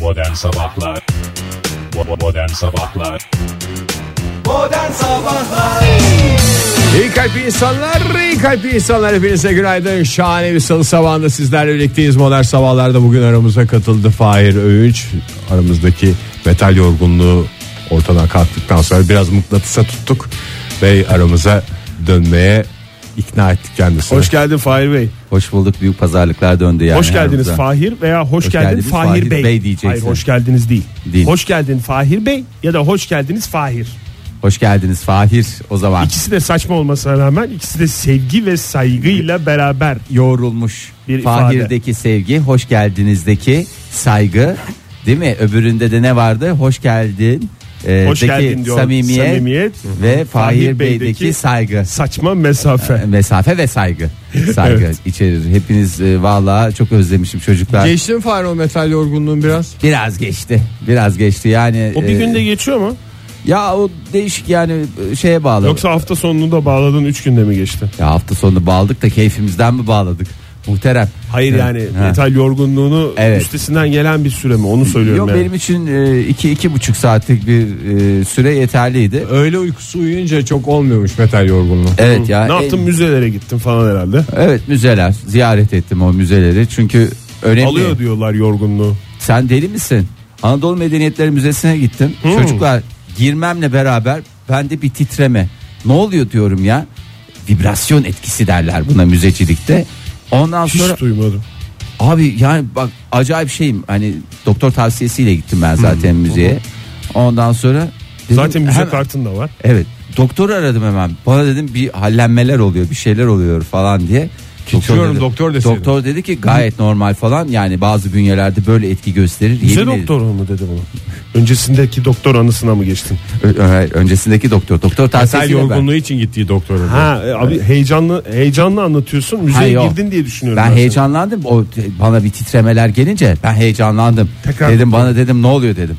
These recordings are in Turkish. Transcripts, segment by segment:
Modern Sabahlar Bo- Modern Sabahlar Modern Sabahlar İyi kalp insanlar, iyi kalp insanlar hepinize günaydın. Şahane bir salı sabahında sizlerle birlikteyiz. Modern sabahlarda bugün aramıza katıldı Fahir Öğünç. Aramızdaki metal yorgunluğu ortadan kalktıktan sonra biraz mıknatısa tuttuk. Ve aramıza dönmeye ikna ettik kendisini. Hoş geldin Fahir Bey. Hoş bulduk büyük pazarlıklar döndü yani. hoş geldiniz aramıza. Fahir veya hoş, Hoş geldin, geldiniz Fahir, Fahir Bey. Bey diyeceksin. Hayır hoş geldiniz değil. Değil. Hoş geldin Fahir Bey ya da hoş geldiniz Fahir. Hoş geldiniz Fahir o zaman. İkisi de saçma olmasına rağmen ikisi de sevgi ve saygıyla beraber. Yoğrulmuş. Bir Fahir'deki sevgi, hoş geldinizdeki saygı. Değil mi? Öbüründe de ne vardı? Hoş geldin. e, Hoş deki geldin diyor. Samimiyet, Samimiyet. ve Fahir, Fahir Bey'deki, Bey'deki saygı. Saçma mesafe. Mesafe ve saygı. Saygı Evet. içerir. Hepiniz e, valla çok özlemişim çocuklar. Geçtin Fahir o metal yorgunluğun biraz. biraz geçti. Biraz geçti yani. O bir e, günde geçiyor mu? ya o değişik yani e, şeye bağlı. Yoksa hafta sonunu da bağladın 3 günde mi geçti? Ya hafta sonunu bağladık da keyfimizden mi bağladık? Muhterem. Hayır yani Ha. metal yorgunluğunu Evet. üstesinden gelen bir süre mi? Onu söylüyorum Yok yani. benim için e, iki iki buçuk saatlik bir e, süre yeterliydi. Öyle uykusu uyuyunca çok olmuyormuş metal yorgunluğu. Evet ya. ne yaptın en- müzelere gittin falan herhalde. evet müzeler ziyaret ettim o müzeleri çünkü önemli. Alıyor diyorlar yorgunluğu. Sen deli misin? Anadolu Medeniyetleri Müzesi'ne gittim. Hmm. Çocuklar girmemle beraber bende bir titreme. Ne oluyor diyorum ya? Vibrasyon etkisi derler buna müzecilikte. Ondan Hiç sonra duymadım. Abi yani bak acayip şeyim hani doktor tavsiyesiyle gittim ben zaten müzeye. Ondan sonra dedim- Hmm. Zaten müze hemen- kartın da var. Evet doktor aradım hemen bana dedim bir hallenmeler oluyor bir şeyler oluyor falan diye. Titriyorum, doktor deseydim. Doktor dedi ki gayet normal falan yani bazı bünyelerde böyle etki gösterir. Bize Yemin doktor mu dedi bunu? Öncesindeki doktor anısına mı geçtin? ederim- Ö- ö- öncesindeki doktor doktor Metal tavsiyesiyle ben. yorgunluğu için gittiği doktora. Ha e, abi heyecanlı heyecanlı anlatıyorsun. Müzeye Ha, yok. girdin diye düşünüyorum. Ben seni. heyecanlandım. O te- bana bir titremeler gelince ben heyecanlandım. Tekrar- dedim bana dedim ne oluyor dedim.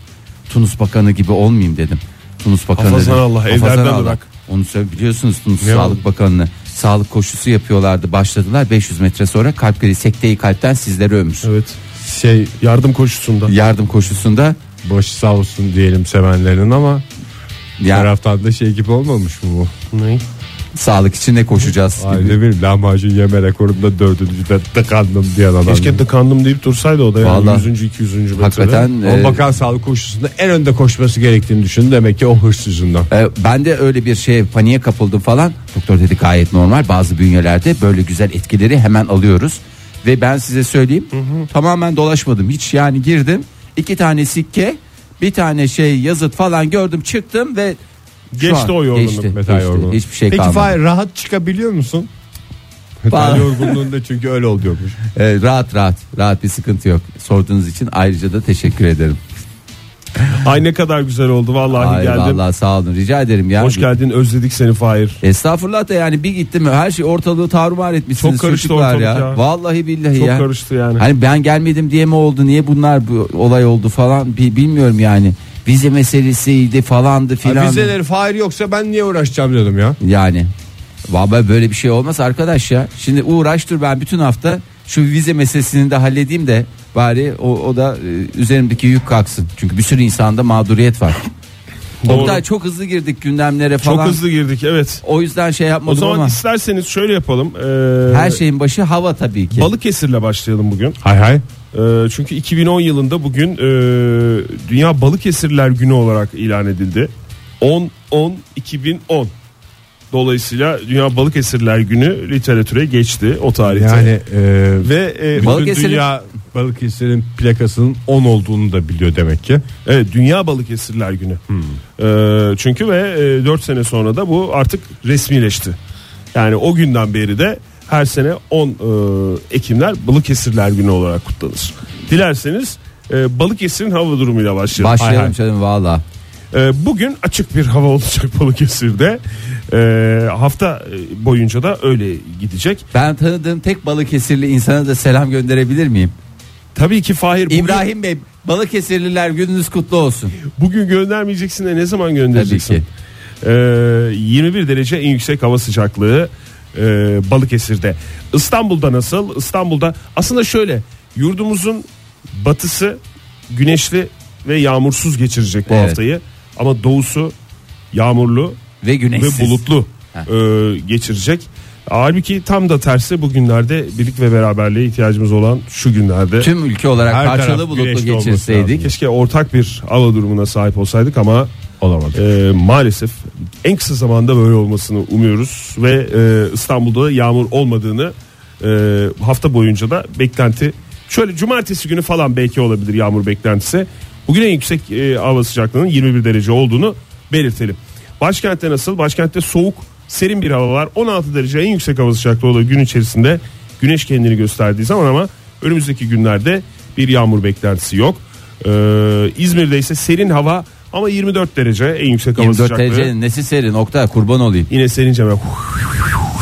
Tunus Bakanı gibi olmayayım dedim. Tunus Bakanı Hafazan dedim. Allah, Hafazan evlerden Allah. bırak. Onu söyle biliyorsunuz Tunus Ne Sağlık oldu? Bakanı'nı. Sağlık koşusu yapıyorlardı. Başladılar 500 metre sonra kalp krizi sekteyi kalpten sizlere ömür. Evet. Şey Yardım koşusunda. Yardım koşusunda başı sağ olsun diyelim sevenlerin ama ya taraftan da şey gibi olmamış mı bu? Ne? sağlık için ne koşacağız gibi. Ay ne bileyim lahmacun yeme rekorunda dördüncüde tıkandım diyen adam. Keşke tıkandım deyip dursaydı o da yani Vallahi. 100. 200. metrede. Hakikaten O e, bakan sağlık koşusunda en önde koşması gerektiğini düşündü. Demek ki o hırs yüzünden. E, Ben de öyle bir şeye paniğe kapıldım falan. Doktor dedi gayet normal bazı bünyelerde böyle güzel etkileri hemen alıyoruz. Ve ben size söyleyeyim tamamen dolaşmadım hiç yani girdim. iki tane sikke bir tane şey yazıt falan gördüm çıktım ve şu Geçti o yorgunluk, metal yorgunluk. Hiçbir şey Peki kalmadı. Fahir rahat çıkabiliyor musun? Ba- Ben yorgunluğunda çünkü öyle oluyormuş. E, rahat rahat rahat bir sıkıntı yok. Sorduğunuz için ayrıca da teşekkür ederim. Ay ne kadar güzel oldu vallahi Ay, geldim. vallahi sağ olun rica ederim ya. Hoş geldin özledik seni Fahir. Estağfurullah da yani bir gittim her şey ortalığı tarumar etmişsiniz Çok karıştı çocuklar ortalık ya. ya. Vallahi billahi Çok ya. karıştı yani. Hani ben gelmedim diye mi oldu? Niye bunlar bu olay oldu falan bi- bilmiyorum yani. Vize meselesiydi falandı filan. Vizeleri Fahir yoksa ben niye uğraşacağım dedim ya. Yani. Baba böyle bir şey olmaz arkadaş ya. Şimdi uğraş dur ben bütün hafta şu vize meselesini de halledeyim de bari o, o da e, üzerimdeki yük kalksın. Çünkü bir sürü insanda mağduriyet var. Doğru. Oktay çok hızlı girdik gündemlere Çok falan. hızlı girdik evet. O yüzden şey O yapmadım zaman ama. isterseniz şöyle yapalım. Ee, Her şey- şeyin başı hava tabii ki. Balıkesir'le başlayalım bugün. Hay hay. Ee, çünkü 2010 yılında bugün e, Dünya Balıkesirler Günü olarak ilan edildi. 10-10-2010. Dolayısıyla Dünya Balıkesirler Günü literatüre geçti o tarihte. Yani e, Ve Balık- e, bugün- bütün Balıkesir'in- dünya Balıkesir'in plakasının 10 olduğunu da biliyor demek ki. evet, Dünya Balıkesirler Günü. Hmm. Ee, çünkü ve e, 4 sene sonra da bu artık resmileşti. Yani o günden beri de her sene 10 e, Ekimler Balıkesirler Günü olarak kutlanır. Dilerseniz e, Balıkesir'in hava durumuyla başlayalım. Başlayalım Hay hay. canım valla. Ee, Bugün açık bir hava olacak Balıkesir'de. Ee, hafta e, boyunca da öyle gidecek. Ben tanıdığım tek Balıkesirli insana da selam gönderebilir miyim? Tabii ki Fahir bugün, İbrahim Bey Balıkesirliler gününüz kutlu olsun. bugün göndermeyeceksin de ne zaman göndereceksin? Tabii ki. Ee, 21 derece en yüksek hava sıcaklığı e, Balıkesir'de. İstanbul'da nasıl? İstanbul'da aslında şöyle yurdumuzun batısı güneşli ve yağmursuz geçirecek bu Evet. haftayı. Ama doğusu yağmurlu Ve güneşsiz. ve bulutlu e, geçirecek. Halbuki tam da tersi bugünlerde birlik ve beraberliğe ihtiyacımız olan şu günlerde. Tüm ülke olarak Her parçalı taraf bulutlu güneşli olması lazım. geçirseydik. Keşke ortak bir hava durumuna sahip olsaydık ama Olamadı. e, maalesef en kısa zamanda böyle olmasını umuyoruz ve e, İstanbul'da yağmur olmadığını e, hafta boyunca da beklenti şöyle cumartesi günü falan belki olabilir yağmur beklentisi. Bugün en yüksek e, hava sıcaklığının 21 derece olduğunu belirtelim. Başkentte nasıl? Başkentte soğuk, serin bir hava var. 16 derece en yüksek hava sıcaklığı olduğu gün içerisinde güneş kendini gösterdiği zaman ama önümüzdeki günlerde bir yağmur beklentisi yok. E, İzmir'de ise serin hava ama 24 derece en yüksek hava 24 sıcaklığı. derecenin nesi serin nokta kurban olayım. Yine serince ben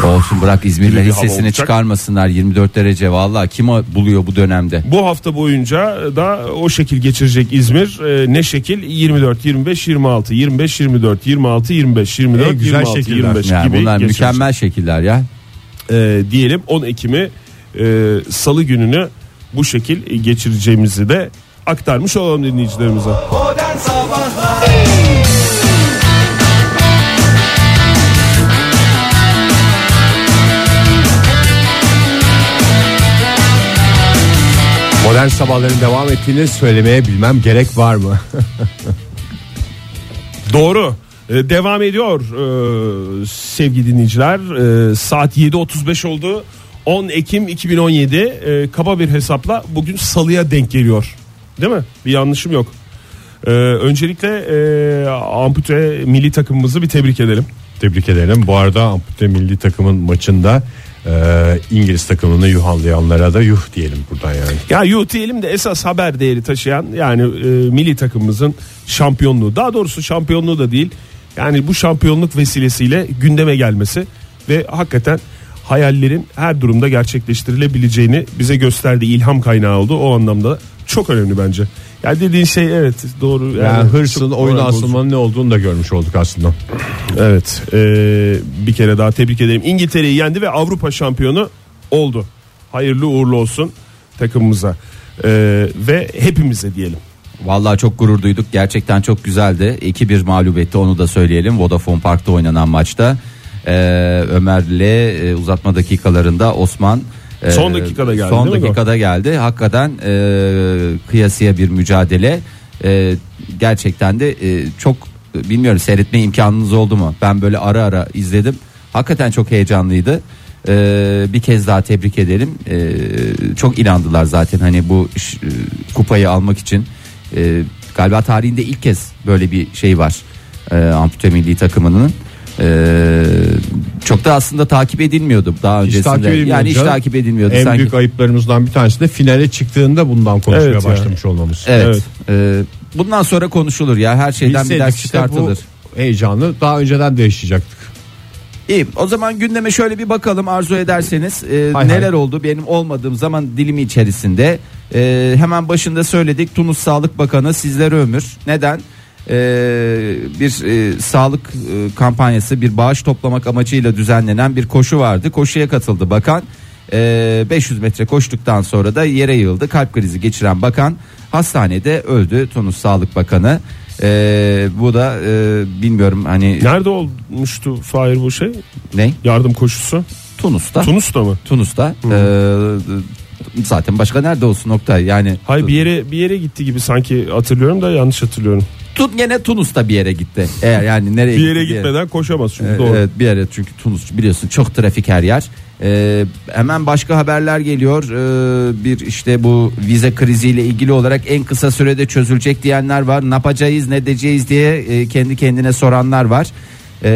Olsun bırak İzmir'de Gibi bir hava hissesini olacak. çıkarmasınlar 24 derece vallahi kim o- buluyor bu dönemde. Bu hafta boyunca da o şekil geçirecek İzmir. Ee, ne şekil? 24, 25, 26, 25, 24, 26, 25, 24, En güzel 26, şekiller. 25 Yani gibi bunlar geçirecek. mükemmel şekiller ya. Ee, diyelim 10 Ekim'i e, Salı gününü bu şekil geçireceğimizi de aktarmış olalım dinleyicilerimize. Modern Sabahlar Modern sabahların devam ettiğini söylemeye bilmem gerek var mı? Doğru. Ee, devam ediyor ee, sevgili dinleyiciler. Ee, saat 7.35 oldu. 10 Ekim 2017 ee, kaba bir hesapla bugün salıya denk geliyor. Değil mi? Bir yanlışım yok. Ee, öncelikle ee, ampute milli takımımızı bir tebrik edelim. Tebrik edelim. Bu arada ampute milli takımın maçında e, İngiliz takımını yuhanlayanlara da yuh diyelim buradan yani. Ya yuh diyelim de esas haber değeri taşıyan yani e, milli takımımızın şampiyonluğu. Daha doğrusu şampiyonluğu da değil. Yani bu şampiyonluk vesilesiyle gündeme gelmesi ve hakikaten hayallerin her durumda gerçekleştirilebileceğini bize gösterdi. ilham kaynağı oldu. O anlamda çok önemli bence. Ya dediğin şey evet doğru. Yani, Yani hırsın çok oyuna moral bozucu. asılmanın ne olduğunu da görmüş olduk aslında. Evet e, bir kere daha tebrik ederim. İngiltere'yi yendi ve Avrupa şampiyonu oldu. Hayırlı uğurlu olsun takımımıza E, ve hepimize diyelim. Vallahi çok gurur duyduk. Gerçekten çok güzeldi. 2-1 mağlubiyetti onu da söyleyelim. Vodafone Park'ta oynanan maçta Ee, Ömer'le e, uzatma dakikalarında Osman e, Son dakikada geldi, Son değil mi bu? dakikada geldi. Hakikaten e, kıyasıya bir mücadele. E, gerçekten de e, çok e, bilmiyorum seyretme imkanınız oldu mu? Ben böyle ara ara izledim. Hakikaten çok heyecanlıydı. E, bir kez daha tebrik edelim. E, çok inandılar zaten hani bu iş, e, kupayı almak için. E, galiba tarihinde ilk kez böyle bir şey var. E, ampute milli takımının. E, çok da aslında takip edilmiyordu daha öncesinde. takip edilmiyordu yani hiç canım. takip edilmiyordu. En sanki. büyük ayıplarımızdan bir tanesi de finale çıktığında bundan konuşmaya Evet ya. başlamış olmamız. Evet. Ee, bundan sonra konuşulur ya her şeyden bir Bilseydik ders işte bu çıkartılır. heyecanı daha önceden de yaşayacaktık. İyi. O zaman gündeme şöyle bir bakalım arzu ederseniz Ee, Hay hay. neler oldu benim olmadığım zaman dilimi içerisinde Ee, hemen başında söyledik Tunus Sağlık Bakanı sizlere ömür. Neden? Ee, bir e, sağlık e, kampanyası bir bağış toplamak amacıyla düzenlenen bir koşu vardı. Koşuya katıldı bakan. Ee, 500 metre koştuktan sonra da yere yığıldı. Kalp krizi geçiren bakan hastanede öldü. Tunus Sağlık Bakanı. Ee, bu da e, bilmiyorum hani Nerede olmuştu Fahir bu şey? ne? Yardım koşusu. Ah. Tunus'ta. Tunus'ta mı? Tunus'ta. Ee, zaten başka nerede olsun nokta yani. Hayır bir yere bir yere gitti gibi sanki hatırlıyorum da yanlış hatırlıyorum. Tut gene Tunus'ta bir yere gitti. Eğer yani nereye Bir yere gitti diye- gitmeden koşamaz çünkü Ee, doğru. Evet bir yere çünkü Tunus biliyorsun çok trafik her yer. Ee, hemen başka haberler geliyor. Ee, bir işte bu vize kriziyle ilgili olarak en kısa sürede çözülecek diyenler var. Ne yapacağız ne edeceğiz diye e, kendi kendine soranlar var. Ee,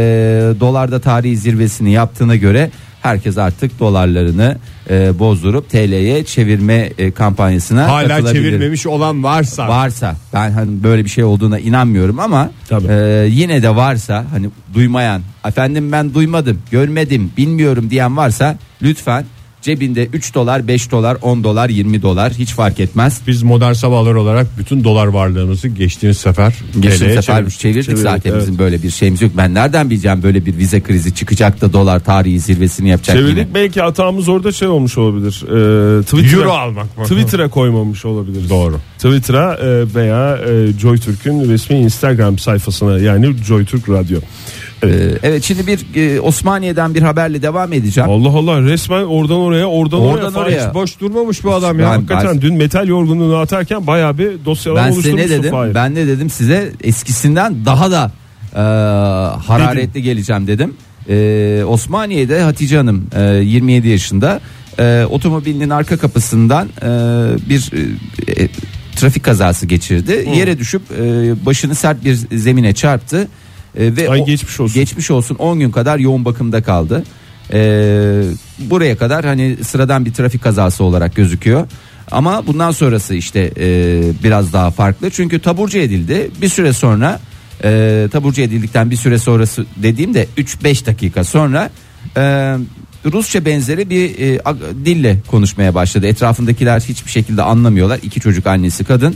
dolar da tarihi zirvesini yaptığına göre herkes artık dolarlarını e, bozdurup TL'ye çevirme e, kampanyasına Hala katılabilir. çevirmemiş olan varsa. Varsa ben hani böyle bir şey olduğuna inanmıyorum ama Tabii. e, yine de varsa hani duymayan efendim ben duymadım görmedim bilmiyorum diyen varsa lütfen Cebinde 3 dolar, 5 dolar, 10 dolar, 20 dolar hiç fark etmez. Biz modern sabahlar olarak bütün dolar varlığımızı geçtiğimiz sefer Geçen TL'ye sefer çevirdik. çevirdik zaten evet. bizim böyle bir şeyimiz yok. Ben nereden bileceğim böyle bir vize krizi çıkacak da dolar tarihi zirvesini yapacak Çevirdik yine. belki hatamız orada şey olmuş olabilir. Ee, Twitter'a, Euro almak mı? Twitter'a koymamış olabiliriz. Doğru. Twitter'a e, veya e, JoyTürk'ün resmi Instagram sayfasına yani JoyTürk Radyo. Ee, Evet şimdi bir e, Osmaniye'den bir haberle devam edeceğim. Allah Allah resmen oradan oraya oradan, Oradan oraya. oraya. Fahir. Hiç boş durmamış bu adam Ben- ya. Hakikaten dün metal yorgunluğunu atarken baya bir dosyalar Ben size oluşturmuşsun ne dedim? Fahir. Ben ne dedim size? Eskisinden daha da e, hararetli geleceğim dedim. E, Osmaniye'de Hatice Hanım e, 27 yaşında e, otomobilinin arka kapısından e, bir e, e, trafik kazası geçirdi. Yere düşüp e, başını sert bir zemine çarptı. E, ve Ay o- geçmiş olsun. Geçmiş olsun 10 gün kadar yoğun bakımda kaldı. Ee, buraya kadar hani sıradan bir trafik kazası olarak gözüküyor. Ama bundan sonrası işte e, biraz daha farklı. Çünkü taburcu edildi. Bir süre sonra e, taburcu edildikten bir süre sonrası dediğimde 3-5 dakika sonra e, Rusça benzeri bir e, ag- dille konuşmaya başladı. Etrafındakiler hiçbir şekilde anlamıyorlar. İki çocuk annesi kadın.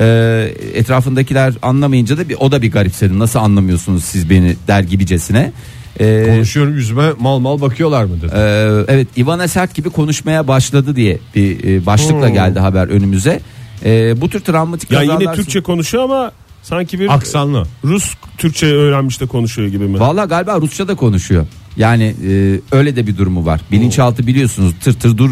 Ee, etrafındakiler anlamayınca da bir, o da bir garipsedi. Nasıl anlamıyorsunuz siz beni der gibicesine. Ee, Konuşuyorum yüzüme mal mal bakıyorlar mı dedi. ee, evet Ivana Sert gibi konuşmaya başladı diye bir e, başlıkla geldi haber önümüze. Ee, bu tür travmatik Hmm. ya kazalar- yine Türkçe konuşuyor ama sanki bir Aksanlı. Rus Türkçe öğrenmiş de konuşuyor gibi mi? Valla galiba Rusça da konuşuyor. Yani e, öyle de bir durumu var. Bilinçaltı biliyorsunuz tır tır dur,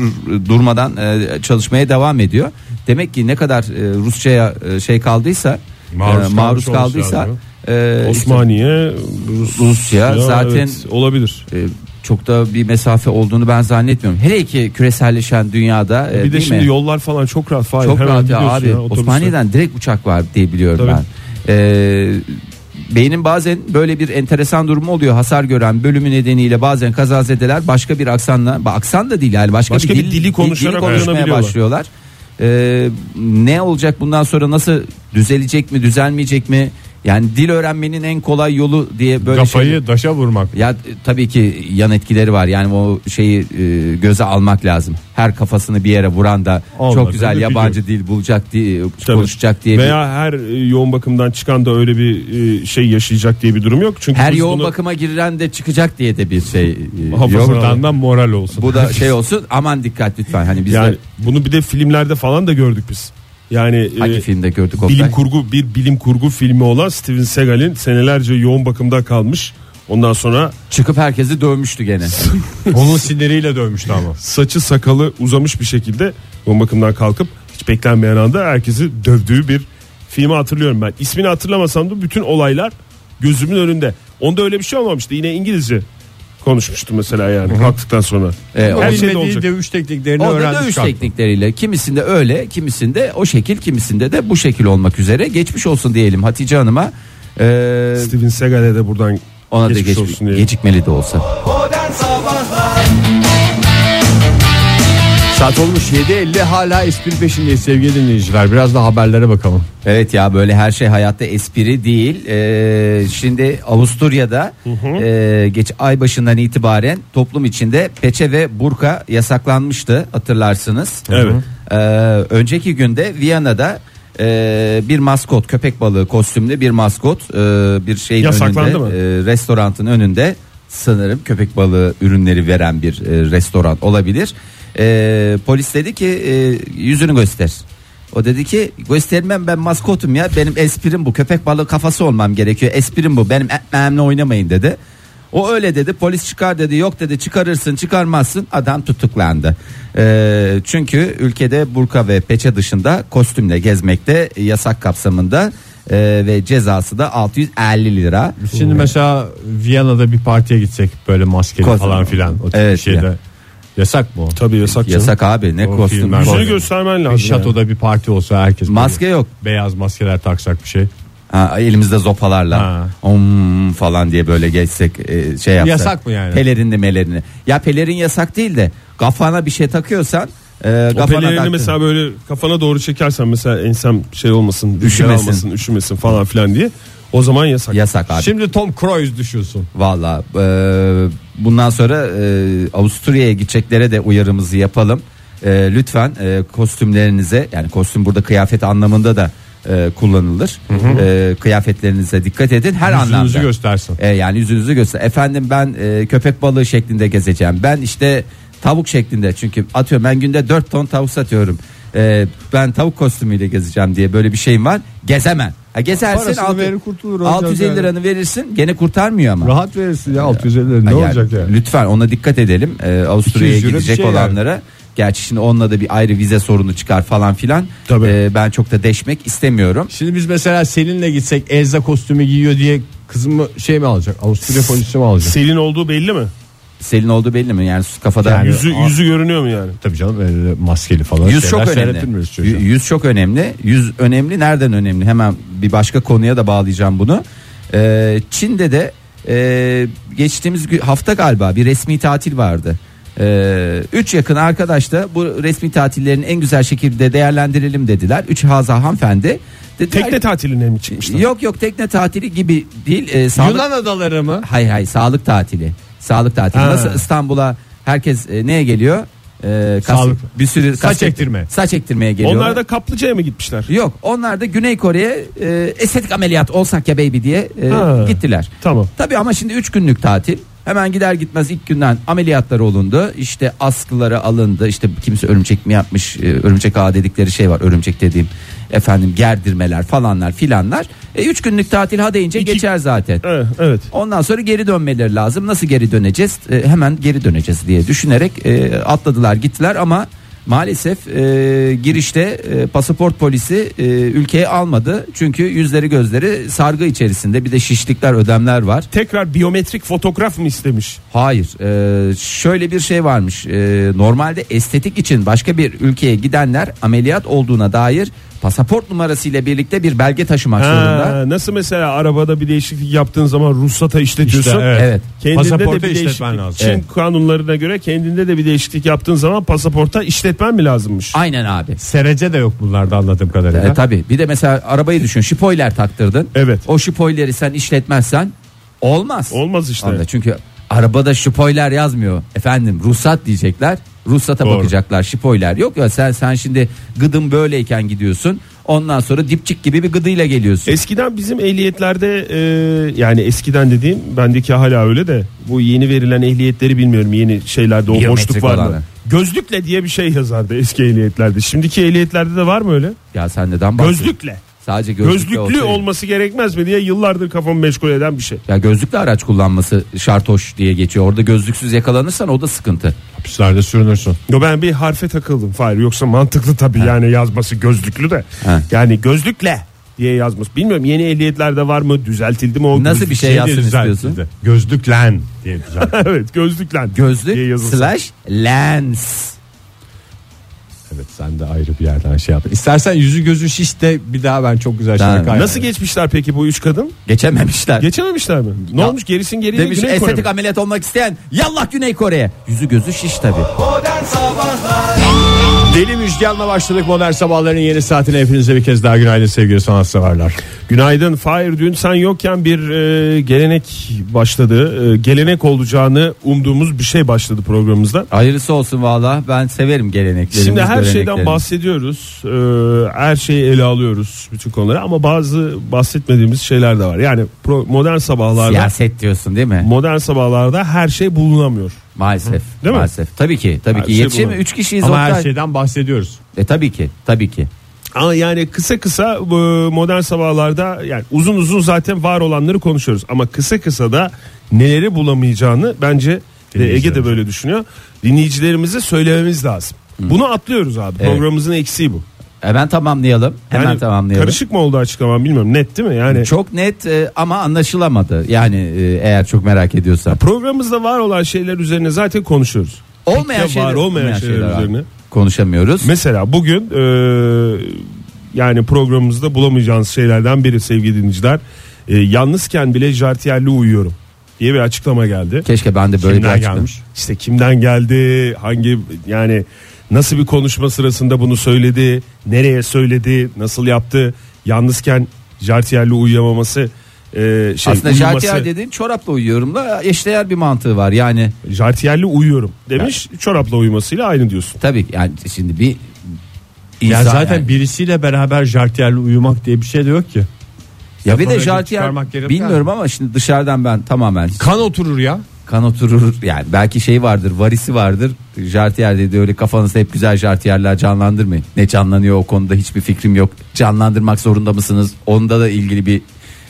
durmadan e, çalışmaya devam ediyor. Demek ki ne kadar e, Rusça'ya e, şey kaldıysa Maruz kalmış maruz olması kaldıysa lazım. e, Osmaniye, Rus, Rusya zaten- evet, olabilir. E, çok da bir mesafe olduğunu ben zannetmiyorum. Hele ki küreselleşen dünyada e, bir de değil şimdi mi? yollar falan çok rahat. Fahir. çok Hemen rahat ya gidiyorsun abi. ya otobüste. Osmaniye'den direkt uçak var diye biliyorum Tabii. ben. E, beynin bazen böyle bir enteresan durumu oluyor. Hasar gören bölümü nedeniyle bazen kazazedeler başka bir aksanla, ba- aksan da değil yani başka, Başka bir, bir dil, dili konuşarak konuşmaya öğrenebiliyorlar. başlıyorlar. E, ne olacak bundan sonra nasıl düzelecek mi düzelmeyecek mi? Yani dil öğrenmenin en kolay yolu diye böyle şey- Kafayı daşa vurmak. ya e, tabii ki yan etkileri var. Yani o şeyi e, göze almak lazım. Her kafasını bir yere vuran da Olmaz, çok güzel öyle yabancı dil bulacak diye e, Tabii. konuşacak diye. bir- Veya her e, yoğun bakımdan çıkan da öyle bir e, şey yaşayacak diye bir durum yok. Çünkü her biz yoğun bunu- bakıma girilen de çıkacak diye de bir şey. e, yok. Buradan da moral olsun. Bu da şey olsun. Aman dikkat lütfen. Hani biz yani de bunu bir de filmlerde falan da gördük biz. Yani e, hangi filmde gördük Oktay? bilim kurgu bir bilim kurgu filmi olan Steven Seagal'in senelerce yoğun bakımda kalmış. Ondan sonra Çıkıp herkesi dövmüştü gene. Onun siniriyle dövmüştü ama. saçı sakalı uzamış bir şekilde yoğun bakımdan kalkıp hiç beklenmeyen anda herkesi dövdüğü bir filmi hatırlıyorum ben. İsmini hatırlamasam da bütün olaylar gözümün önünde. Onda öyle bir şey olmamıştı. Yine İngilizce konuşmuştu mesela yani kalktıktan sonra. E, o Her şey de Bilmediği olacak. dövüş tekniklerini Orada öğrenmiş. dövüş kalktı. teknikleriyle kimisinde öyle kimisinde o şekil kimisinde de bu şekil olmak üzere geçmiş olsun diyelim Hatice Hanım'a. Ee, Steven Seagal'e de buradan ona geçmiş da olsun geçmiş, diye. gecikmeli de olsa. Modern Sabahlar Saat olmuş 7.50 hala espri peşindeyiz sevgili dinleyiciler. Biraz da haberlere bakalım. Evet ya böyle her şey hayatta espri değil. Ee, şimdi Avusturya'da e, geç ay başından itibaren toplum içinde peçe ve burka yasaklanmıştı hatırlarsınız. Evet. Ee, önceki günde Viyana'da e, bir maskot köpek balığı kostümlü bir maskot e, bir şeyin Yasaklandı önünde mı? e, restoranın önünde sanırım köpek balığı ürünleri veren bir e, restoran olabilir. E, polis dedi ki e, yüzünü göster. O dedi ki göstermem ben maskotum ya benim esprim bu köpek balığı kafası olmam gerekiyor esprim bu benim etmemle oynamayın dedi. O öyle dedi polis çıkar dedi yok dedi çıkarırsın çıkarmazsın adam tutuklandı. E, çünkü ülkede burka ve peçe dışında kostümle gezmekte yasak kapsamında e, ve cezası da 650 lira. Şimdi mesela Viyana'da bir partiye gitsek böyle maskeli Kostüm. falan filan. O tip Evet, bir şeyde. ya. Yasak mı o? Tabii yasak. canım. Yasak abi ne O kostüm. filmler- Yüzünü kostüm. Tabii. göstermen Bir lazım. yani. şatoda bir parti olsa herkes böyle Maske yok. beyaz maskeler taksak bir şey. Ha, elimizde zopalarla Ha. om falan diye böyle geçsek e, şey yapsak. Yasak mı yani? Pelerinli melerini. Ya pelerin yasak değil de kafana bir şey takıyorsan e, O kafana pelerini taktın. mesela böyle kafana doğru çekersen mesela ensem şey olmasın, Üşümesin. üşümesin, almasın, üşümesin falan filan diye. O zaman yasak. Yasak abi. Şimdi Tom Cruise düşünsün. Valla e, bundan sonra e, Avusturya'ya gideceklere de uyarımızı yapalım. E, lütfen e, kostümlerinize yani kostüm burada kıyafet anlamında da e, kullanılır. E, kıyafetlerinize dikkat edin her Yüzünüzü anlamda. göstersin. E, yani yüzünüzü göster. Efendim ben e, köpek balığı şeklinde gezeceğim. Ben işte tavuk şeklinde çünkü atıyorum ben günde 4 ton tavuk satıyorum. E, ben tavuk kostümüyle gezeceğim diye böyle bir şeyim var. Gezemem. Ha, gezersin Parasını altı- verir kurtulur hocam 650 yani. liranı verirsin gene kurtarmıyor ama. Rahat verirsin ya 650 lira. ne Yani olacak yani? Lütfen ona dikkat edelim. Ee, Avusturya'ya 200 euro bir gidecek şey yani. olanlara. Gerçi şimdi onunla da bir ayrı vize sorunu çıkar falan filan. Tabii. Ee, ben çok da deşmek istemiyorum. Şimdi biz mesela Selin'le gitsek Elza kostümü giyiyor diye kızımı şey mi alacak? Avusturya polisi mi alacak? Selin olduğu belli mi? Selin oldu belli mi? Yani kafada Yani Yüzü yüzü görünüyor mu yani? Tabii canım öyle maskeli falan. Yüz şeyler çok önemli. seyrettirmiyoruz çocuğa. Y- Yüz çok önemli. Yüz önemli. Nereden önemli? Hemen bir başka konuya da bağlayacağım bunu. Ee, Çin'de de e, geçtiğimiz gü- hafta galiba bir resmi tatil vardı. Ee, üç yakın arkadaş da bu resmi tatillerin en güzel şekilde değerlendirelim dediler. Üç Haza hanımefendi. Dediler, Tekne tatiline mi çıkmışlar? Yok yok tekne tatili gibi değil. Ee, sağlık- Yunan adaları mı? Hay hay sağlık tatili. Sağlık tatili. Ha. Nasıl İstanbul'a herkes e, neye geliyor? Ee, kas- Sağlık. Bir sürü Saç kas- ektirme. Saç ektirmeye geliyor. Onlar da kaplıcaya mı gitmişler? Yok onlar da Güney Kore'ye e, estetik ameliyat olsak ya baby diye e, Ha. gittiler. Tamam. Tabii ama şimdi 3 günlük tatil. Hemen gider gitmez ilk günden ameliyatlar olundu. İşte askıları alındı. İşte kimisi örümcek mi yapmış? e, örümcek ağı dedikleri şey var. Örümcek dediğim efendim gerdirmeler falanlar filanlar. 3 günlük tatil ha deyince İki- geçer zaten. Evet, evet. Ondan sonra geri dönmeleri lazım. Nasıl geri döneceğiz? E, hemen geri döneceğiz diye düşünerek e, atladılar gittiler ama maalesef e, girişte e, pasaport polisi e, ülkeye almadı. Çünkü yüzleri gözleri sargı içerisinde bir de şişlikler ödemler var. Tekrar biyometrik fotoğraf mı istemiş? Hayır e, şöyle bir şey varmış E, normalde estetik için başka bir ülkeye gidenler ameliyat olduğuna dair pasaport numarası ile birlikte bir belge taşımak zorunda. Ha, nasıl mesela arabada bir değişiklik yaptığın zaman ruhsata işletiyorsun. İşte, evet. Evet. Kendinde Pasaporta de bir değişiklik. işletmen lazım. Çin Evet. kanunlarına göre kendinde de bir değişiklik yaptığın zaman pasaporta işletmen mi lazımmış? Aynen abi. Serece de yok bunlarda anladığım kadarıyla. E, tabii bir de mesela arabayı düşün şipoyler taktırdın. Evet. O şipoyleri sen işletmezsen olmaz. Olmaz işte. Anladın? Çünkü arabada şipoyler yazmıyor. Efendim ruhsat diyecekler. Ruhsata Doğru. bakacaklar şipoyler yok. Ya sen sen şimdi gıdım böyleyken gidiyorsun. Ondan sonra dipçik gibi bir gıdıyla geliyorsun. Eskiden bizim ehliyetlerde e, yani eskiden dediğim bendeki hala öyle de bu yeni verilen ehliyetleri bilmiyorum yeni şeylerde o Biyometrik boşluk var olanı. mı? Gözlükle diye bir şey yazardı eski ehliyetlerde. Şimdiki ehliyetlerde de var mı öyle? ya sen neden bahsediyorsun? Gözlükle. Sadece gözlüklü, Gözlüklü olsaydı. olması gerekmez mi diye yıllardır kafamı meşgul eden bir şey. Ya gözlüklü araç kullanması şartoş diye geçiyor. Orada gözlüksüz yakalanırsan o da sıkıntı. Hapislerde sürünürsün. Yo ben bir harfe takıldım Fahir yoksa mantıklı tabii yani yazması gözlüklü de. Ha. Yani gözlükle diye yazmış. Bilmiyorum yeni ehliyetlerde var mı düzeltildi mi o Nasıl gözlük- bir şey diye yazsın düzeltildi. istiyorsun? Gözlüklen diye şey. güzel. evet gözlüklen. diye Gözlük yazılsın. slash lens. evet sen de ayrı bir yerden şey yap. İstersen yüzü gözü şiş de bir daha ben çok güzel Tamam. şeyler kaynarım. Nasıl geçmişler peki bu üç kadın? Geçememişler. Geçememişler mi? Ne Ya- olmuş gerisin geriye Demiş Güney Kore estetik mi? ameliyat olmak isteyen yallah Güney Kore'ye. Yüzü gözü şiş tabi. Modern Sabahlar Deli Müjgan'la başladık modern sabahların yeni saatine hepinize bir kez daha günaydın sevgili sanatseverler. Günaydın Fahir dün sen yokken bir e, gelenek başladı. E, gelenek olacağını umduğumuz bir şey başladı programımızda. Hayırlısı olsun valla ben severim geleneklerimiz. Şimdi her şeyden göreneklerimiz. bahsediyoruz. Ee, her şeyi ele alıyoruz bütün konuları ama bazı bahsetmediğimiz şeyler de var. Yani pro- modern sabahlarda Siyaset diyorsun değil mi? modern sabahlarda her şey bulunamıyor. maalesef. Değil mi? maalesef. Tabii ki. Tabii Her ki. şey Yetişemi bunun. şey- 3 kişiyiz. Ama Oktay. her şeyden bahsediyoruz. E tabii ki. Tabii ki. Ama yani kısa kısa e, modern sabahlarda yani uzun uzun zaten var olanları konuşuyoruz ama kısa kısa da neleri bulamayacağını bence e, Ege de Dinleyicilerimiz. böyle düşünüyor. Dinleyicilerimize söylememiz lazım. Bunu atlıyoruz abi. Evet. Programımızın eksiği bu. Hemen tamamlayalım. Hemen Yani tamamlayalım. Karışık mı oldu açıklamam bilmiyorum. Net değil mi? Yani Çok net e, ama anlaşılamadı. Yani e, eğer çok merak ediyorsan. Programımızda var olan şeyler üzerine zaten konuşuyoruz. Olmayan var şeyler, olmayan şeyler var. üzerine. Konuşamıyoruz. Mesela bugün e, yani programımızda bulamayacağınız şeylerden biri sevgili dinleyiciler. E, yalnızken bile jartiyerli uyuyorum diye bir açıklama geldi. Keşke ben de böyle bir kimden açıklama- gelmiş? İşte kimden geldi? Hangi yani Nasıl bir konuşma sırasında bunu söyledi? Nereye söyledi? Nasıl yaptı? Yalnızken jartiyerle uyuyamaması e, şey, Aslında uyuması- jartiyer dediğin çorapla uyuyorumla eşdeğer bir mantığı var. Yani Jartiyerle uyuyorum demiş. Çorapla uyumasıyla aynı diyorsun. tabii yani şimdi bir Ya insan zaten yani- birisiyle beraber jartiyerle uyumak diye bir şey de yok ki. ya bir de Yaparak jartiyer çıkarmak gerek bilmiyorum ama şimdi dışarıdan ben tamamen Kan oturur ya. kan oturur yani belki şey vardır varisi vardır jartiyer dedi öyle kafanızda hep güzel jartiyerler canlandırmayın ne canlanıyor o konuda hiçbir fikrim yok canlandırmak zorunda mısınız onda da ilgili bir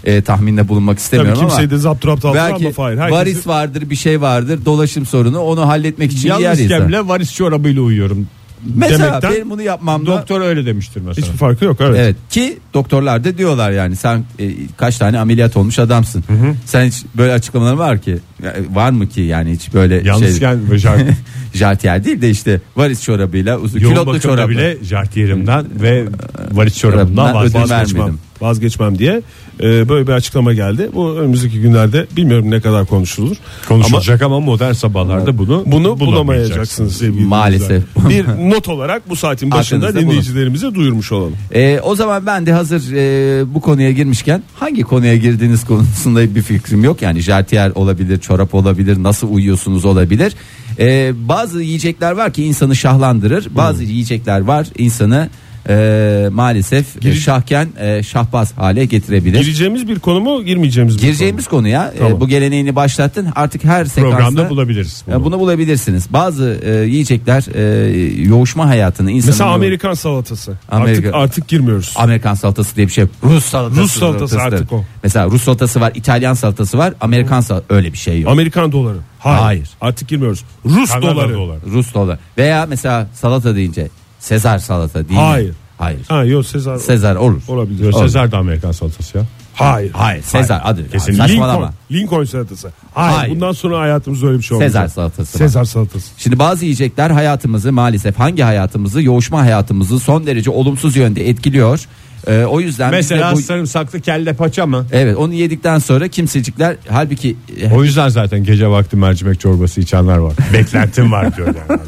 e, tahminde bulunmak Tabii istemiyorum kimseyi ama de zapturapt altına belki alma Fahir. Herkesi- varis vardır bir şey vardır dolaşım sorunu onu halletmek için bir yer Yalnız insan. kemle varis çorabıyla uyuyorum. mesela demekten benim bunu yapmamda Doktor öyle demiştir mesela. Hiçbir farkı yok evet. Evet ki doktorlar da diyorlar yani sen e, kaç tane ameliyat olmuş adamsın. Sen hiç böyle açıklamalar var ki Ya, var mı ki yani hiç böyle şey Yalnızken ve jart- jartiyer değil de işte varis çorabıyla uzun yoğun kilotlu bakımda çorabı. bile jartiyerimden ve varis çorabımdan Ben ödün vazgeçmem. vermedim. Vazgeçmem diye e, böyle bir açıklama geldi. Bu önümüzdeki günlerde bilmiyorum ne kadar konuşulur. Konuşulacak ama, modern sabahlarda bunu Bunu bulamayacaksınız sevgili Maalesef. dinleyiciler. Bir not olarak bu saatin başında Aklınızda dinleyicilerimize duyurmuş olalım. E, o zaman ben de hazır e, bu konuya girmişken hangi konuya girdiğiniz konusunda bir fikrim yok. Yani jartiyer olabilir, çorap olabilir, nasıl uyuyorsunuz olabilir. E, bazı yiyecekler var ki insanı şahlandırır. Bazı Hmm. yiyecekler var insanı e, maalesef e, şahken e, şahbaz hale getirebilir. Gireceğimiz bir konu mu girmeyeceğimiz bir Gireceğimiz konuya e, Tamam. bu geleneğini başlattın. Artık her sekansta programda bulabiliriz. e, bunu bulabilirsiniz. Bazı e, yiyecekler e, yoğuşma hayatını insanın konu mu? Mesela yoğur- Amerikan salatası. Amerika- Artık artık girmiyoruz. Amerikan salatası diye bir şey yok. Rus salatası. Rus salatası artık o. Mesela Rus salatası var, İtalyan salatası var, Amerikan salatası öyle bir şey yok. Amerikan doları. Hayır. Hayır. Artık girmiyoruz. Rus Kanada doları. doları. Rus dolar. Veya mesela salata deyince Sezar salata değil mi? Hayır. Hayır. Ha yok Sezar. Sezar olur. Olabilir. Sezar da Amerikan salatası ya. Hayır. Hayır, Sezar adı. Kesin. Saçmalama. Lincoln, Lincoln salatası. Hayır. Hayır. Bundan sonra hayatımızda öyle bir şey olmayacak. Sezar salatası. var. Sezar salatası. Şimdi bazı yiyecekler hayatımızı maalesef hangi hayatımızı, yoğuşma hayatımızı son derece olumsuz yönde etkiliyor. Ee, o yüzden biz de Mesela bu- sarımsaklı kelle paça mı? evet onu yedikten sonra kimsecikler halbuki e, O yüzden zaten gece vakti mercimek çorbası içenler var. Beklentim var diyor yani.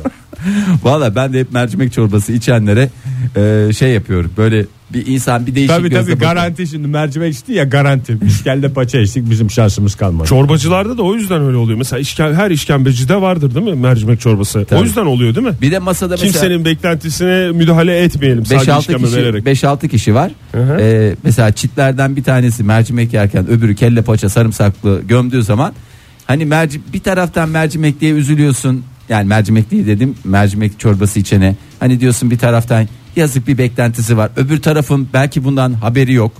Valla ben de hep mercimek çorbası içenlere e, şey yapıyorum. Böyle bir insan bir değişik tabii gözle tabii bakıyor. garanti şimdi mercimek içti ya garanti. Biz kelle paça içtik bizim şansımız kalmadı. Çorbacılarda da o yüzden öyle oluyor. Mesela işken, her işkembecide vardır değil mi mercimek çorbası? O yüzden oluyor değil mi? Bir de masada mesela Kimsenin beklentisine müdahale etmeyelim. Sadece 5-6 işkembe vererek. kişi, 5-6 kişi var. hı. E, mesela çitlerden bir tanesi mercimek yerken öbürü kelle paça sarımsaklı gömdüğü zaman hani merci, bir taraftan mercimek diye üzülüyorsun. Yani mercimek diye dedim mercimek çorbası içene. Hani diyorsun bir taraftan yazık bir beklentisi var. Öbür tarafın belki bundan haberi yok.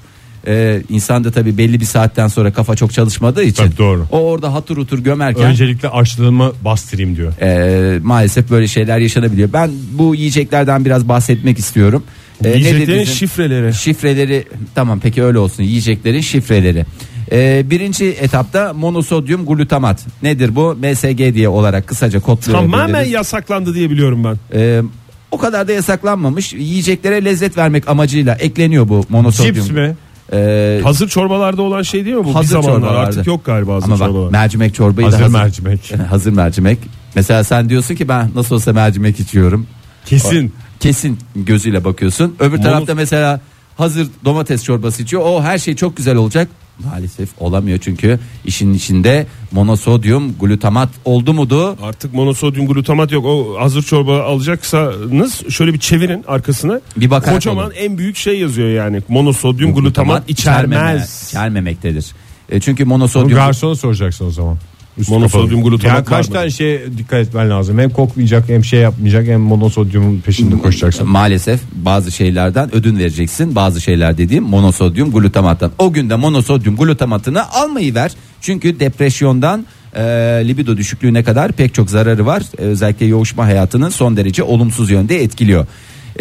Ee, insan da tabii belli bir saatten sonra kafa çok çalışmadığı için Tabii doğru. o orada hatır hutur gömerken Öncelikle açlığımı bastırayım diyor. e, maalesef böyle şeyler yaşanabiliyor. Ben bu yiyeceklerden biraz bahsetmek istiyorum. E, nedir Yiyeceklerin bizim- şifreleri. Şifreleri tamam peki öyle olsun yiyeceklerin şifreleri. E, birinci etapta monosodyum glutamat nedir bu MSG diye olarak kısaca kodlayabiliriz. Tamamen yasaklandı diye biliyorum ben. E, o kadar da yasaklanmamış yiyeceklere lezzet vermek amacıyla ekleniyor bu monosodyum. Cips mi? E, Hazır çorbalarda olan şey değil mi bu? Hazır bir zamanlar çorbalarda. artık yok galiba hazır ama bak çorbalar. mercimek çorbayı da Hazır hazır, mercimek. hazır mercimek. Mesela sen diyorsun ki ben nasıl olsa mercimek içiyorum. Kesin. kesin gözüyle bakıyorsun. Öbür tarafta mesela hazır domates çorbası içiyor. O her şey çok güzel olacak. Maalesef olamıyor çünkü işin içinde monosodyum glutamat oldu mudu? Artık monosodyum glutamat yok. O hazır çorba alacaksanız şöyle bir çevirin arkasını. Bir bakarak Kocaman alın. en büyük şey yazıyor yani. Monosodyum glutamat içermez. İçermemektedir. E çünkü Bunu monosodyum garsona soracaksın o zaman. Üst Monosodyum kapalı. glutamat Yani kaç var mı? tane şeye dikkat etmen lazım. Hem kokmayacak hem şey yapmayacak hem monosodyumun peşinde koşacaksın. maalesef bazı şeylerden ödün vereceksin. Bazı şeyler dediğim monosodyum glutamattan. O günde monosodyum glutamatını almayı ver. Çünkü depresyondan e, libido düşüklüğüne kadar pek çok zararı var. E, özellikle yoğuşma hayatını son derece olumsuz yönde etkiliyor.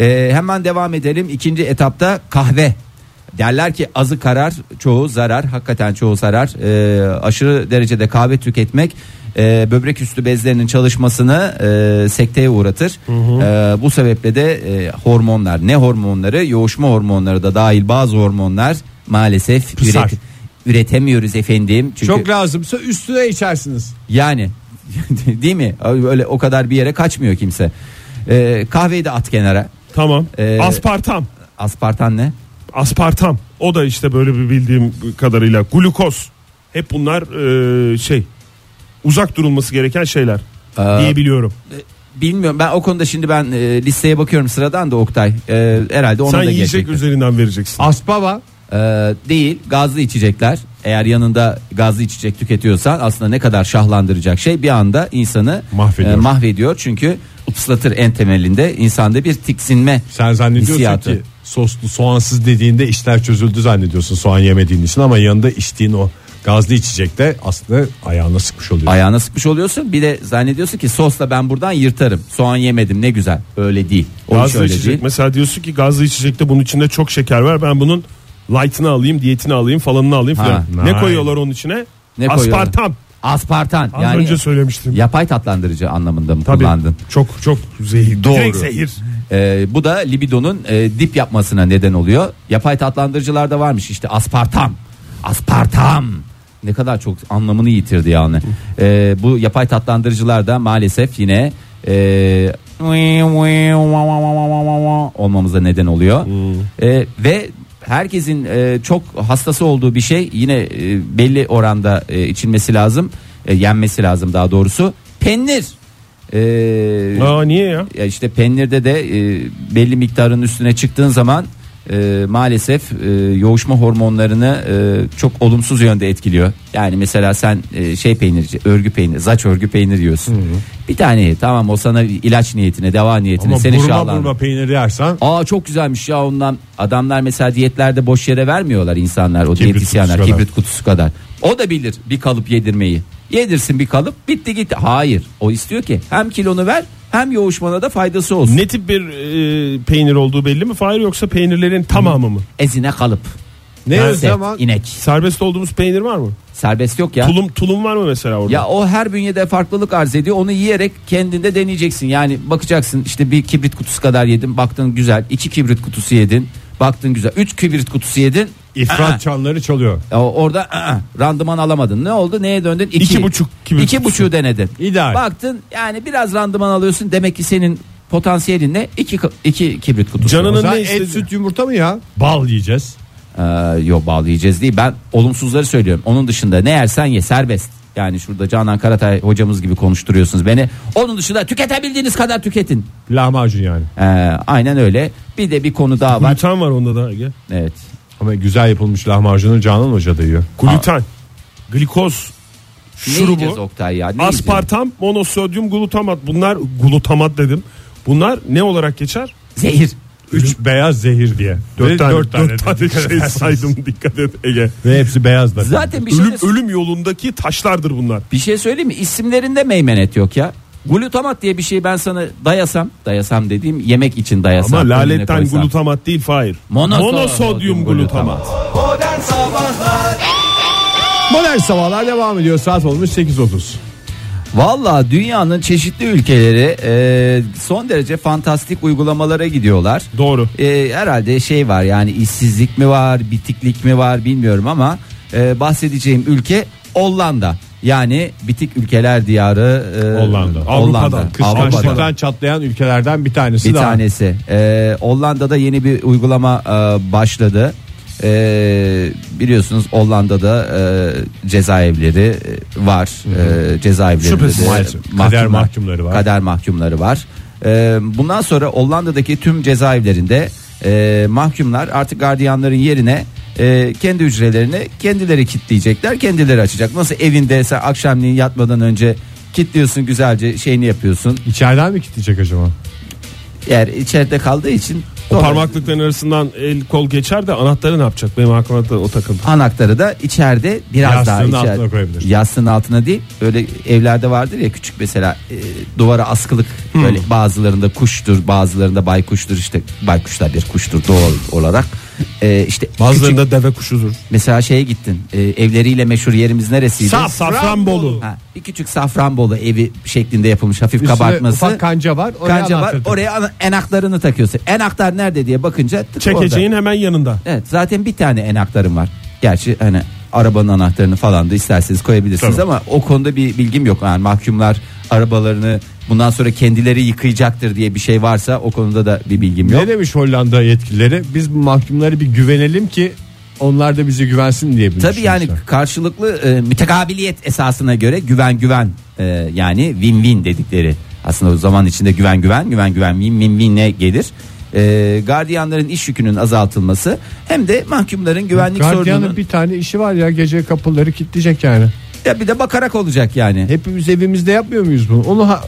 E, hemen devam edelim. İkinci etapta kahve. Derler ki azı karar çoğu zarar hakikaten çoğu zarar E, aşırı derecede kahve tüketmek e, böbrek üstü bezlerinin çalışmasını e, sekteye uğratır. E, bu sebeple de e, hormonlar ne hormonları yoğuşma hormonları da dahil bazı hormonlar maalesef Pısar. üret- üretemiyoruz efendim. Çünkü Çok lazımsa üstüne içersiniz. yani değil mi? Öyle o kadar bir yere kaçmıyor kimse. Ee, kahveyi de at kenara. Tamam. Ee, Aspartam. Aspartan ne? Aspartam. O da işte böyle bir bildiğim kadarıyla glukoz. Hep bunlar e, şey uzak durulması gereken şeyler Ee, diye biliyorum. Bilmiyorum ben o konuda şimdi ben e, listeye bakıyorum sıradan da Oktay. E, herhalde ona Sen da yiyecek gelecektir. üzerinden vereceksin. Aspava Ee, değil gazlı içecekler eğer yanında gazlı içecek tüketiyorsan aslında ne kadar şahlandıracak şey bir anda insanı Mahvediyor. e, mahvediyor. çünkü ıslatır en temelinde insanda bir tiksinme sen zannediyorsun Hissiyatı. ki soslu soğansız dediğinde işler çözüldü zannediyorsun soğan yemediğin için ama yanında içtiğin o gazlı içecek de aslında ayağına sıkmış oluyor. ayağına sıkmış oluyorsun bir de zannediyorsun ki sosla ben buradan yırtarım soğan yemedim ne güzel öyle değil o iş Gazlı öyle içecek değil. mesela diyorsun ki gazlı içecekte bunun içinde çok şeker var. Ben bunun light'ını alayım, diyetini alayım, falanını alayım Ha, filan. Ne nice. koyuyorlar onun içine? Ne koyuyorlar? Aspartam. aspartan Az yani önce söylemiştim. yapay tatlandırıcı anlamında mı Tabii. kullandın Çok çok zehir. Doğru. Direkt zehir. Ee, bu da libidonun e, dip yapmasına neden oluyor. Yapay tatlandırıcılarda varmış işte aspartam. Aspartam. Ne kadar çok anlamını yitirdi yani. Ee, bu yapay tatlandırıcılar da maalesef yine e, olmamıza neden oluyor. Ee, ve herkesin e, çok hastası olduğu bir şey yine e, belli oranda e, içilmesi lazım. E, yenmesi lazım daha doğrusu. Peynir. Ee, Aa niye ya? ya işte peynirde de e, belli miktarın üstüne çıktığın zaman e, maalesef e, yoğuşma hormonlarını e, çok olumsuz yönde etkiliyor. Yani mesela sen e, şey peynirci, örgü peynir, zaç örgü peynir yiyorsun. Bir tane ye, tamam o sana ilaç niyetine, deva niyetine ama seni burma şahlandır. burma peynir yersen Aa çok güzelmiş ya ondan. Adamlar mesela diyetlerde boş yere vermiyorlar insanlar o Kibrit diyetisyenler kutusu kadar. kibrit kutusu kadar. O da bilir bir kalıp yedirmeyi. Yedirsin bir kalıp bitti gitti. Hayır o istiyor ki hem kilonu ver hem yoğuşmana da faydası olsun. Ne tip bir e, peynir olduğu belli mi? Fahir yoksa peynirlerin tamamı mı? Ezine kalıp. ne o Nerede? zaman inek. Serbest olduğumuz peynir var mı? Serbest yok ya. Tulum tulum var mı mesela orada? Ya o her bünyede farklılık arz ediyor. Onu yiyerek kendinde deneyeceksin. Yani bakacaksın işte bir kibrit kutusu kadar yedin. Baktın güzel. İki kibrit kutusu yedin. Baktın güzel. Üç kibrit kutusu yedin. Aa. ifrat çanları çalıyor. Ya orada ı-ı, randıman alamadın. Ne oldu? Neye döndün? İki, İki buçuk kibrit İki kutusu. buçuğu denedin. İdeal. Baktın yani biraz randıman alıyorsun. Demek ki senin potansiyelin ne? İki, ka- iki kibrit kutusu. Canının Sen ne et istedi? süt yumurta mı ya? Bal yiyeceğiz. Ee, yok bağlayacağız değil. Ben olumsuzları söylüyorum. Onun dışında ne yersen ye serbest. Yani şurada Canan Karatay hocamız gibi konuşturuyorsunuz beni. Onun dışında tüketebildiğiniz kadar tüketin. Lahmacun yani. Ee, aynen öyle. Bir de bir konu daha var. Gluten var onda da. Ege. Evet. Ama güzel yapılmış lahmacunu Canan Hoca da yiyor. Gluten. Glikoz. Ne yiyeceğiz Şurubu. Oktay ya? Ne yiyeceğiz? Aspartam, monosodyum, glutamat. Bunlar glutamat dedim. Bunlar ne olarak geçer? Zehir. Üç beyaz zehir diye. Ve Dört tane, dört tane tane şey saydım dikkat et Ege. Ve hepsi beyaz da. Zaten bir şey, Ölüm, de- ölüm yolundaki taşlardır bunlar. bir şey söyleyeyim mi? İsimlerinde meymenet yok ya. Glutamat diye bir şey ben sana dayasam, dayasam dediğim yemek için dayasam. Ama önüne laletten koysam. glutamat değil Fahir. Monoso- Monosodyum glutamat. Modern Sabahlar Modern sabahlar devam ediyor. Saat olmuş 8.30. Valla dünyanın çeşitli ülkeleri e, son derece fantastik uygulamalara gidiyorlar. Doğru. E, herhalde şey var yani işsizlik mi var, bitiklik mi var bilmiyorum ama e, bahsedeceğim ülke Hollanda. Yani bitik ülkeler diyarı e, Hollanda. Avrupa'dan, Avrupa'dan Açlıktan çatlayan ülkelerden bir tanesi bir daha. tanesi. Ee, Hollanda'da yeni bir uygulama e, başladı. Ee, biliyorsunuz Hollanda'da e, cezaevleri e, var. E, cezaevlerinde Şüphesiz. de Maalesef. mahkumlar- Kader mahkumları var. Kader mahkumları var. Ee, bundan sonra Hollanda'daki tüm cezaevlerinde e, mahkumlar artık gardiyanların yerine e, kendi hücrelerini kendileri kitleyecekler, kendileri açacak. Nasıl evinde sen akşamleyin yatmadan önce kitliyorsun güzelce şeyini yapıyorsun. İçeriden mi kitleyecek acaba? Eğer içeride kaldığı için O parmaklıkların arasından el kol geçer de anahtarı ne yapacak? Benim aklıma da o takıldı. anahtarı da içeride biraz Yastığın daha içeride. altına koyabilir. Yastığın altına değil. Öyle evlerde vardır ya küçük mesela e, duvara askılık Hmm. böyle bazılarında kuştur, bazılarında baykuştur işte baykuşlar bir kuştur doğal olarak. E, işte Bazılarında küçük- deve kuşudur. mesela şeye gittin. e, evleriyle meşhur yerimiz neresiydi? Saf, Safranbolu. Ha, bir küçük Safranbolu evi şeklinde yapılmış hafif Üstüne kabartması. ufak kanca var. Oraya kanca var. anahtarı tak. Oraya ana- enaklarını takıyorsun. Enaktar nerede diye bakınca tık orada. Çekeceğin hemen yanında. Evet zaten bir tane enaktarım var. Gerçi hani arabanın anahtarını falan da isterseniz koyabilirsiniz ama o konuda bir bilgim yok. Yani mahkumlar arabalarını Bundan sonra kendileri yıkayacaktır diye bir şey varsa o konuda da bir bilgim yok. Ne demiş Hollanda yetkilileri? Biz bu mahkumları bir güvenelim ki onlar da bize güvensin diye bir Tabii yani düşünmüşler. karşılıklı e, mütekabiliyet esasına göre güven güven e, yani win win dedikleri aslında o zaman içinde güven güven güven güven win win win'e gelir. E, gardiyanların iş yükünün azaltılması hem de mahkumların güvenlik Gardiyanın sorununun bir tane işi var ya gece kapıları kilitleyecek yani. ya bir de bakarak olacak yani. Hepimiz evimizde yapmıyor muyuz bunu? Onu ha-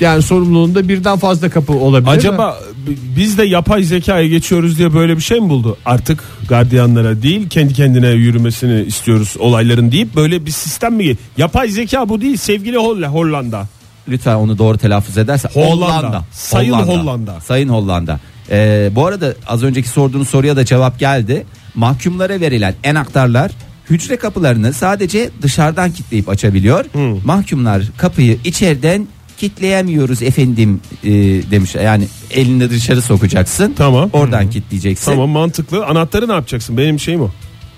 yani sorumluluğunda birden fazla kapı olabilir mi? Acaba b- biz de yapay zekaya geçiyoruz diye böyle bir şey mi buldu? Artık gardiyanlara değil kendi kendine yürümesini istiyoruz olayların deyip böyle bir sistem mi? Yapay zeka bu değil sevgili Holl- Hollanda. lütfen onu doğru telaffuz ederse Hollanda. Sayın Hollanda. Sayın Hollanda. Ee, bu arada az önceki sorduğunuz soruya da cevap geldi. Mahkumlara verilen enaktarlar hücre kapılarını sadece dışarıdan kilitleyip açabiliyor. Mahkumlar kapıyı içeriden kitleyemiyoruz efendim e, demiş. Yani elini dışarı sokacaksın. Tamam. Oradan kilitleyeceksin. Tamam mantıklı. Anahtarı ne yapacaksın? Benim şeyim o.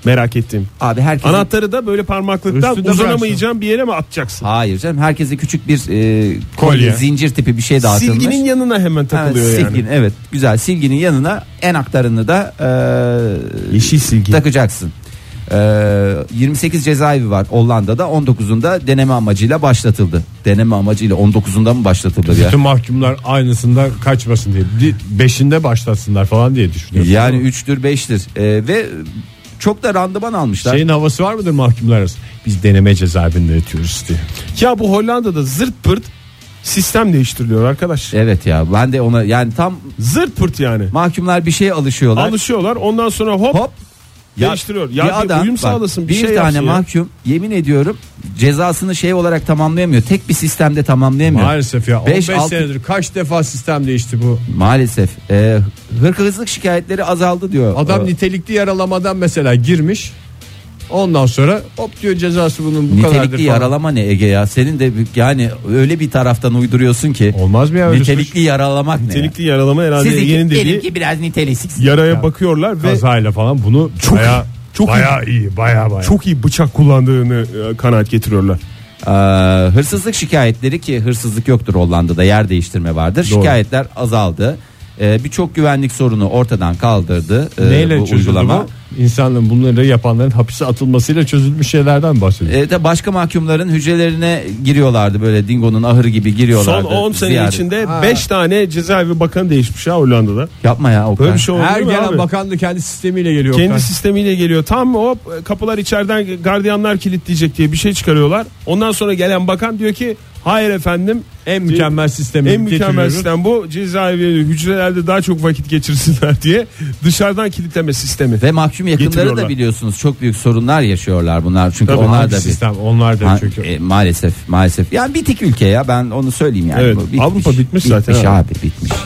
Merak ettiğim. Abi herkesin Anahtarı da böyle parmaklıktan Üstünde uzanamayacağım bir yere mi atacaksın? Hayır canım herkese küçük bir e, kolye, Kolye. zincir tipi bir şey dağıtılmış. Silginin yanına hemen takılıyor evet, yani. silgin, evet güzel silginin yanına en aktarını da e, Yeşil silgi. takacaksın. E, 28 cezaevi var Hollanda'da 19'unda deneme amacıyla başlatıldı. Deneme amacıyla 19'unda mı başlatıldı ya? Bütün mahkumlar aynısında kaçmasın diye. Di- Beşinde başlatsınlar falan diye düşünüyorum. Yani 3'tür 5'tir E, ve çok da randıman almışlar. Şey- Şeyin havası var mıdır mahkumlar arasında? Biz deneme cezaevinde yatıyoruz diye. Ya bu Hollanda'da zırt pırt sistem değiştiriliyor arkadaş. Evet ya ben de ona yani tam Zırt pırt yani. mahkumlar bir şeye alışıyorlar. Alışıyorlar ondan sonra hop, Hop Ya- değiştiriyor. Ya, bir uyum bak, sağlasın bir, bir şey tane yapsın ya. mahkum yemin ediyorum cezasını şey olarak tamamlayamıyor. Tek bir sistemde tamamlayamıyor. Maalesef ya Beş, 15 altı- senedir kaç defa sistem değişti bu. Maalesef. Ee, hırkızlık şikayetleri azaldı diyor. Adam Ee, nitelikli yaralamadan mesela girmiş. Ondan sonra hop diyor cezası bunun bu kadardır nitelikli falan. yaralama ne Ege ya? Senin de bir- yani öyle bir taraftan uyduruyorsun ki. Olmaz mı ya öyle Nitelikli suç? yaralamak Nitelikli yaralama ne? ya? herhalde Siz iki- yeni diyelim dediği ki biraz niteliksiz. yaraya bakıyorlar ve Kazayla falan bunu çok bayağı, çok bayağı iyi bayağı bayağı. çok iyi bıçak kullandığını e, kanaat getiriyorlar. Ee, hırsızlık şikayetleri ki hırsızlık yoktur Hollanda'da yer değiştirme vardır. Doğru. Şikayetler azaldı. Ee, Birçok güvenlik sorunu ortadan kaldırdı. ee, Neyle bu çözüldü uygulama. e, bu? İnsanların bunları yapanların hapise atılmasıyla çözülmüş şeylerden bahsediyor. E, de başka mahkumların hücrelerine giriyorlardı böyle dingonun ahırı gibi Son giriyorlardı. 10 sene ziyaret. içinde Ha. 5 tane cezaevi bakanı değişmiş ya Hollanda'da. yapma ya Okan. Böyle bir şey oldu Her mu gelen abi? bakan da kendi sistemiyle geliyor. Kendi Oktay. sistemiyle geliyor. Tam hop kapılar içeriden gardiyanlar kilitleyecek diye bir şey çıkarıyorlar. Ondan sonra gelen bakan diyor ki hayır efendim en mükemmel sistemi en mükemmel getiriyoruz. sistem bu. Cezaevi hücrelerde daha çok vakit geçirsinler diye dışarıdan kilitleme sistemi. Ve mahkum yakınları da Getiriyorlar. biliyorsunuz çok büyük sorunlar yaşıyorlar bunlar. Çünkü Tabii, onlar hangi da bir sistem onlar da Ha, çünkü. e, maalesef maalesef. Yani bitik ülke ya ben onu söyleyeyim yani. Evet, Bu bitmiş. Avrupa bitmiş zaten Bitmiş abi. abi bitmiş.